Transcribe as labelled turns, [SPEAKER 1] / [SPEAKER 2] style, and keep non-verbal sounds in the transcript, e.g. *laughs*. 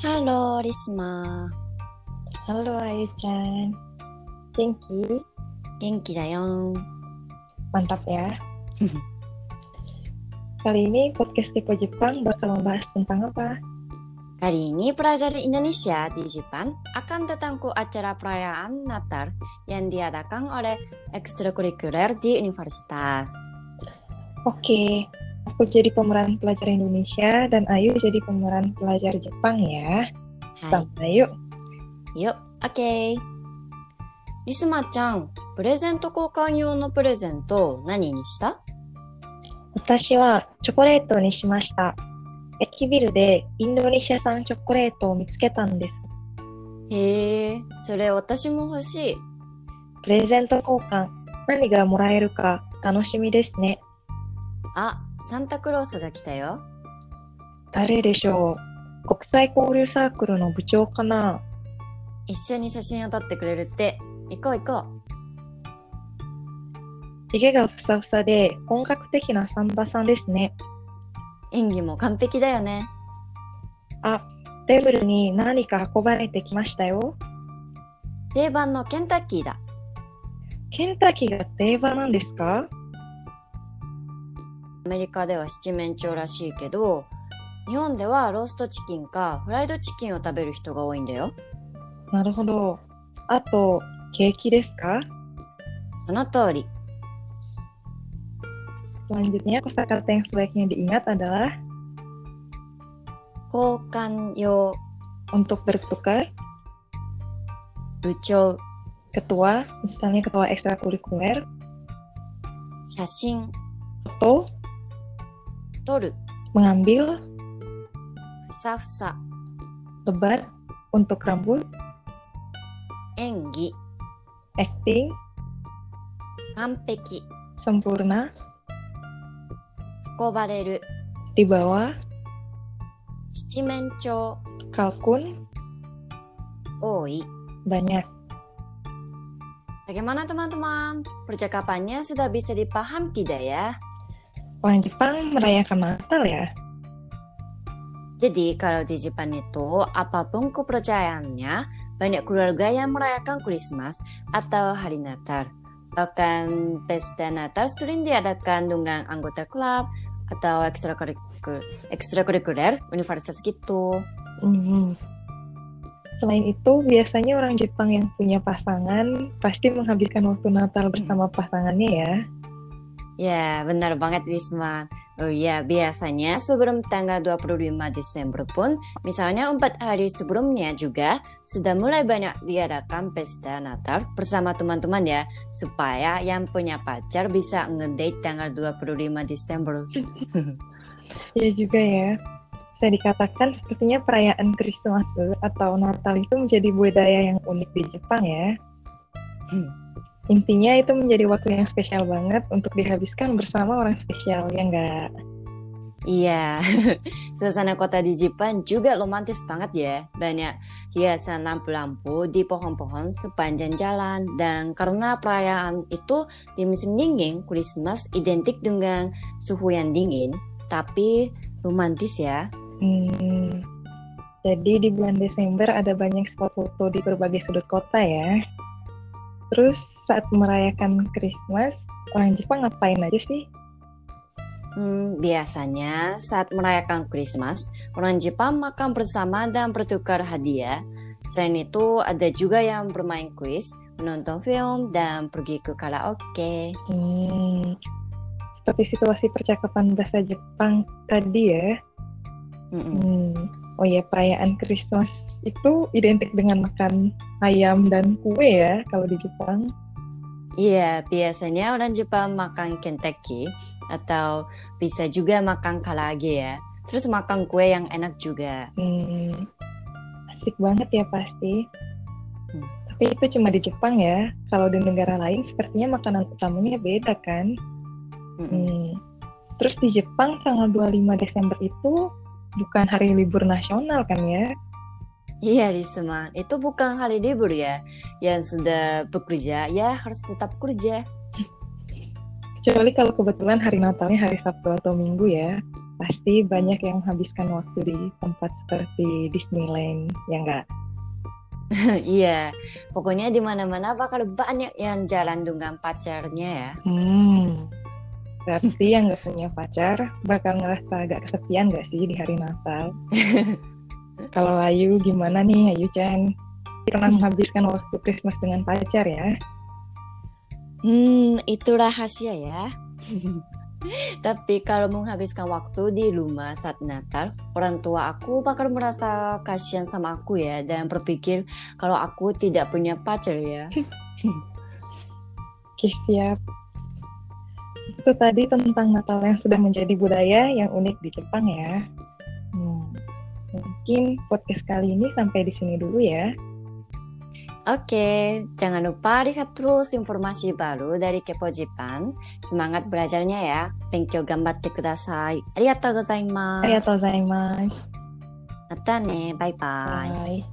[SPEAKER 1] ハロー、リスマー。
[SPEAKER 2] ハロー、あゆちゃん。元気
[SPEAKER 1] 元気だよ。
[SPEAKER 2] Mantap ya. Kali ini podcast Tipe Jepang bakal membahas tentang apa?
[SPEAKER 1] Kali ini pelajar Indonesia di Jepang akan datangku acara perayaan Natal yang diadakan oleh ekstrakurikuler di universitas.
[SPEAKER 2] Oke, aku jadi pemeran pelajar Indonesia dan Ayu jadi pemeran pelajar Jepang ya.
[SPEAKER 1] は
[SPEAKER 2] Sama yuk.
[SPEAKER 1] い。よ、OK。リスマちゃん、プレゼント交換用のプレゼント何にした
[SPEAKER 2] 私はチョコレートにしました。駅ビルでインドネシア産チョコレートを見つけたんです。
[SPEAKER 1] へえ、それ私も欲しい。
[SPEAKER 2] プレゼント交換、何がもらえるか楽しみですね。
[SPEAKER 1] あ、サンタクロースが来たよ。
[SPEAKER 2] 誰でしょう国際交流サークルの部長かな
[SPEAKER 1] 一緒に写真を撮ってくれるって。行こう行こう。
[SPEAKER 2] ひげがふさふさで本格的なサンバさんですね。
[SPEAKER 1] 演技も完璧だよね。
[SPEAKER 2] あ、テーブルに何か運ばれてきましたよ。
[SPEAKER 1] 定番のケンタッキーだ。
[SPEAKER 2] ケンタッキーが定番なんですか
[SPEAKER 1] アメリカでは七面鳥らしいけど、日本ではローストチキンかフライドチキンを食べる人が多いんだよ。
[SPEAKER 2] なるほど。あと、ケーキですか
[SPEAKER 1] その通り。
[SPEAKER 2] Selanjutnya kosakata yang sebaiknya diingat adalah
[SPEAKER 1] 交換用
[SPEAKER 2] untuk bertukar
[SPEAKER 1] 部長
[SPEAKER 2] ketua, misalnya ketua ekstrakurikuler,
[SPEAKER 1] 写真
[SPEAKER 2] foto,
[SPEAKER 1] 撮る
[SPEAKER 2] mengambil,
[SPEAKER 1] ふさふさ
[SPEAKER 2] lebat, untuk rambut,
[SPEAKER 1] 演技
[SPEAKER 2] acting,
[SPEAKER 1] 完璧
[SPEAKER 2] sempurna,
[SPEAKER 1] 運ばれる
[SPEAKER 2] dibawa,
[SPEAKER 1] 七面鳥
[SPEAKER 2] kalkun,
[SPEAKER 1] 多い
[SPEAKER 2] banyak.
[SPEAKER 1] Bagaimana teman-teman? Percakapannya sudah bisa dipaham tidak ya?
[SPEAKER 2] Orang Jepang merayakan Natal ya?
[SPEAKER 1] Jadi kalau di Jepang itu apapun kepercayaannya, banyak keluarga yang merayakan Christmas atau hari Natal. Bahkan pesta Natal sering diadakan dengan anggota klub atau ekstrakurikuler ekstrakurikuler universitas gitu.
[SPEAKER 2] Mhm. Selain itu, biasanya orang Jepang yang punya pasangan pasti menghabiskan waktu Natal bersama pasangannya ya.
[SPEAKER 1] Ya, benar banget Risma. Oh iya, biasanya sebelum tanggal 25 Desember pun, misalnya empat hari sebelumnya juga, sudah mulai banyak diadakan pesta Natal bersama teman-teman ya, supaya yang punya pacar bisa ngedate tanggal 25 Desember.
[SPEAKER 2] Iya juga ya. Bisa dikatakan sepertinya perayaan Christmas atau Natal itu menjadi budaya yang unik di Jepang ya.
[SPEAKER 1] Hmm.
[SPEAKER 2] Intinya itu menjadi waktu yang spesial banget untuk dihabiskan bersama orang spesial, ya enggak?
[SPEAKER 1] Iya, *laughs* suasana kota di Jepang juga romantis banget ya. Banyak hiasan lampu-lampu di pohon-pohon sepanjang jalan. Dan karena perayaan itu di musim dingin, Christmas identik dengan suhu yang dingin, tapi romantis ya.
[SPEAKER 2] Hmm. Jadi di bulan Desember ada banyak spot foto di berbagai sudut kota ya. Terus saat merayakan Christmas, orang Jepang ngapain aja sih?
[SPEAKER 1] Hmm, biasanya saat merayakan Christmas, orang Jepang makan bersama dan bertukar hadiah. Selain itu, ada juga yang bermain kuis, menonton film, dan pergi ke karaoke.
[SPEAKER 2] Hmm. Seperti situasi percakapan bahasa Jepang tadi ya.
[SPEAKER 1] Mm-mm.
[SPEAKER 2] Hmm. Oh ya, perayaan Christmas itu identik dengan makan ayam dan kue ya kalau di Jepang.
[SPEAKER 1] Iya, biasanya orang Jepang makan Kentucky atau bisa juga makan karage ya. Terus makan kue yang enak juga.
[SPEAKER 2] Hmm. Asik banget ya pasti.
[SPEAKER 1] Hmm.
[SPEAKER 2] Tapi itu cuma di Jepang ya. Kalau di negara lain sepertinya makanan utamanya beda kan.
[SPEAKER 1] Mm-mm.
[SPEAKER 2] Hmm. Terus di Jepang tanggal 25 Desember itu bukan hari libur nasional kan ya?
[SPEAKER 1] Iya, Risma. Itu bukan hari libur ya. Yang sudah bekerja, ya harus tetap kerja.
[SPEAKER 2] Kecuali kalau kebetulan hari Natalnya hari Sabtu atau Minggu ya, pasti banyak yang menghabiskan waktu di tempat seperti Disneyland, ya enggak?
[SPEAKER 1] *laughs* Iya, pokoknya di mana-mana bakal banyak yang jalan dengan pacarnya ya.
[SPEAKER 2] Hmm. Berarti yang nggak punya pacar bakal ngerasa agak kesepian nggak sih di hari Natal? Kalau Ayu gimana nih Ayu Chan? Pernah menghabiskan waktu Christmas dengan pacar ya?
[SPEAKER 1] Hmm, itu rahasia ya. *laughs* Tapi kalau menghabiskan waktu di rumah saat Natal, orang tua aku bakal merasa kasihan sama aku ya dan berpikir kalau aku tidak punya pacar ya.
[SPEAKER 2] Oke siap. Itu tadi tentang Natal yang sudah menjadi budaya yang unik di Jepang ya. Hmm. Mungkin podcast kali ini sampai di sini dulu ya.
[SPEAKER 1] Oke, jangan lupa lihat terus informasi baru dari Kepo Jepang. Semangat belajarnya ya. Thank you, gambatte kudasai. Arigatou gozaimasu.
[SPEAKER 2] Arigatou gozaimasu.
[SPEAKER 1] Mata ne, bye-bye.
[SPEAKER 2] Bye.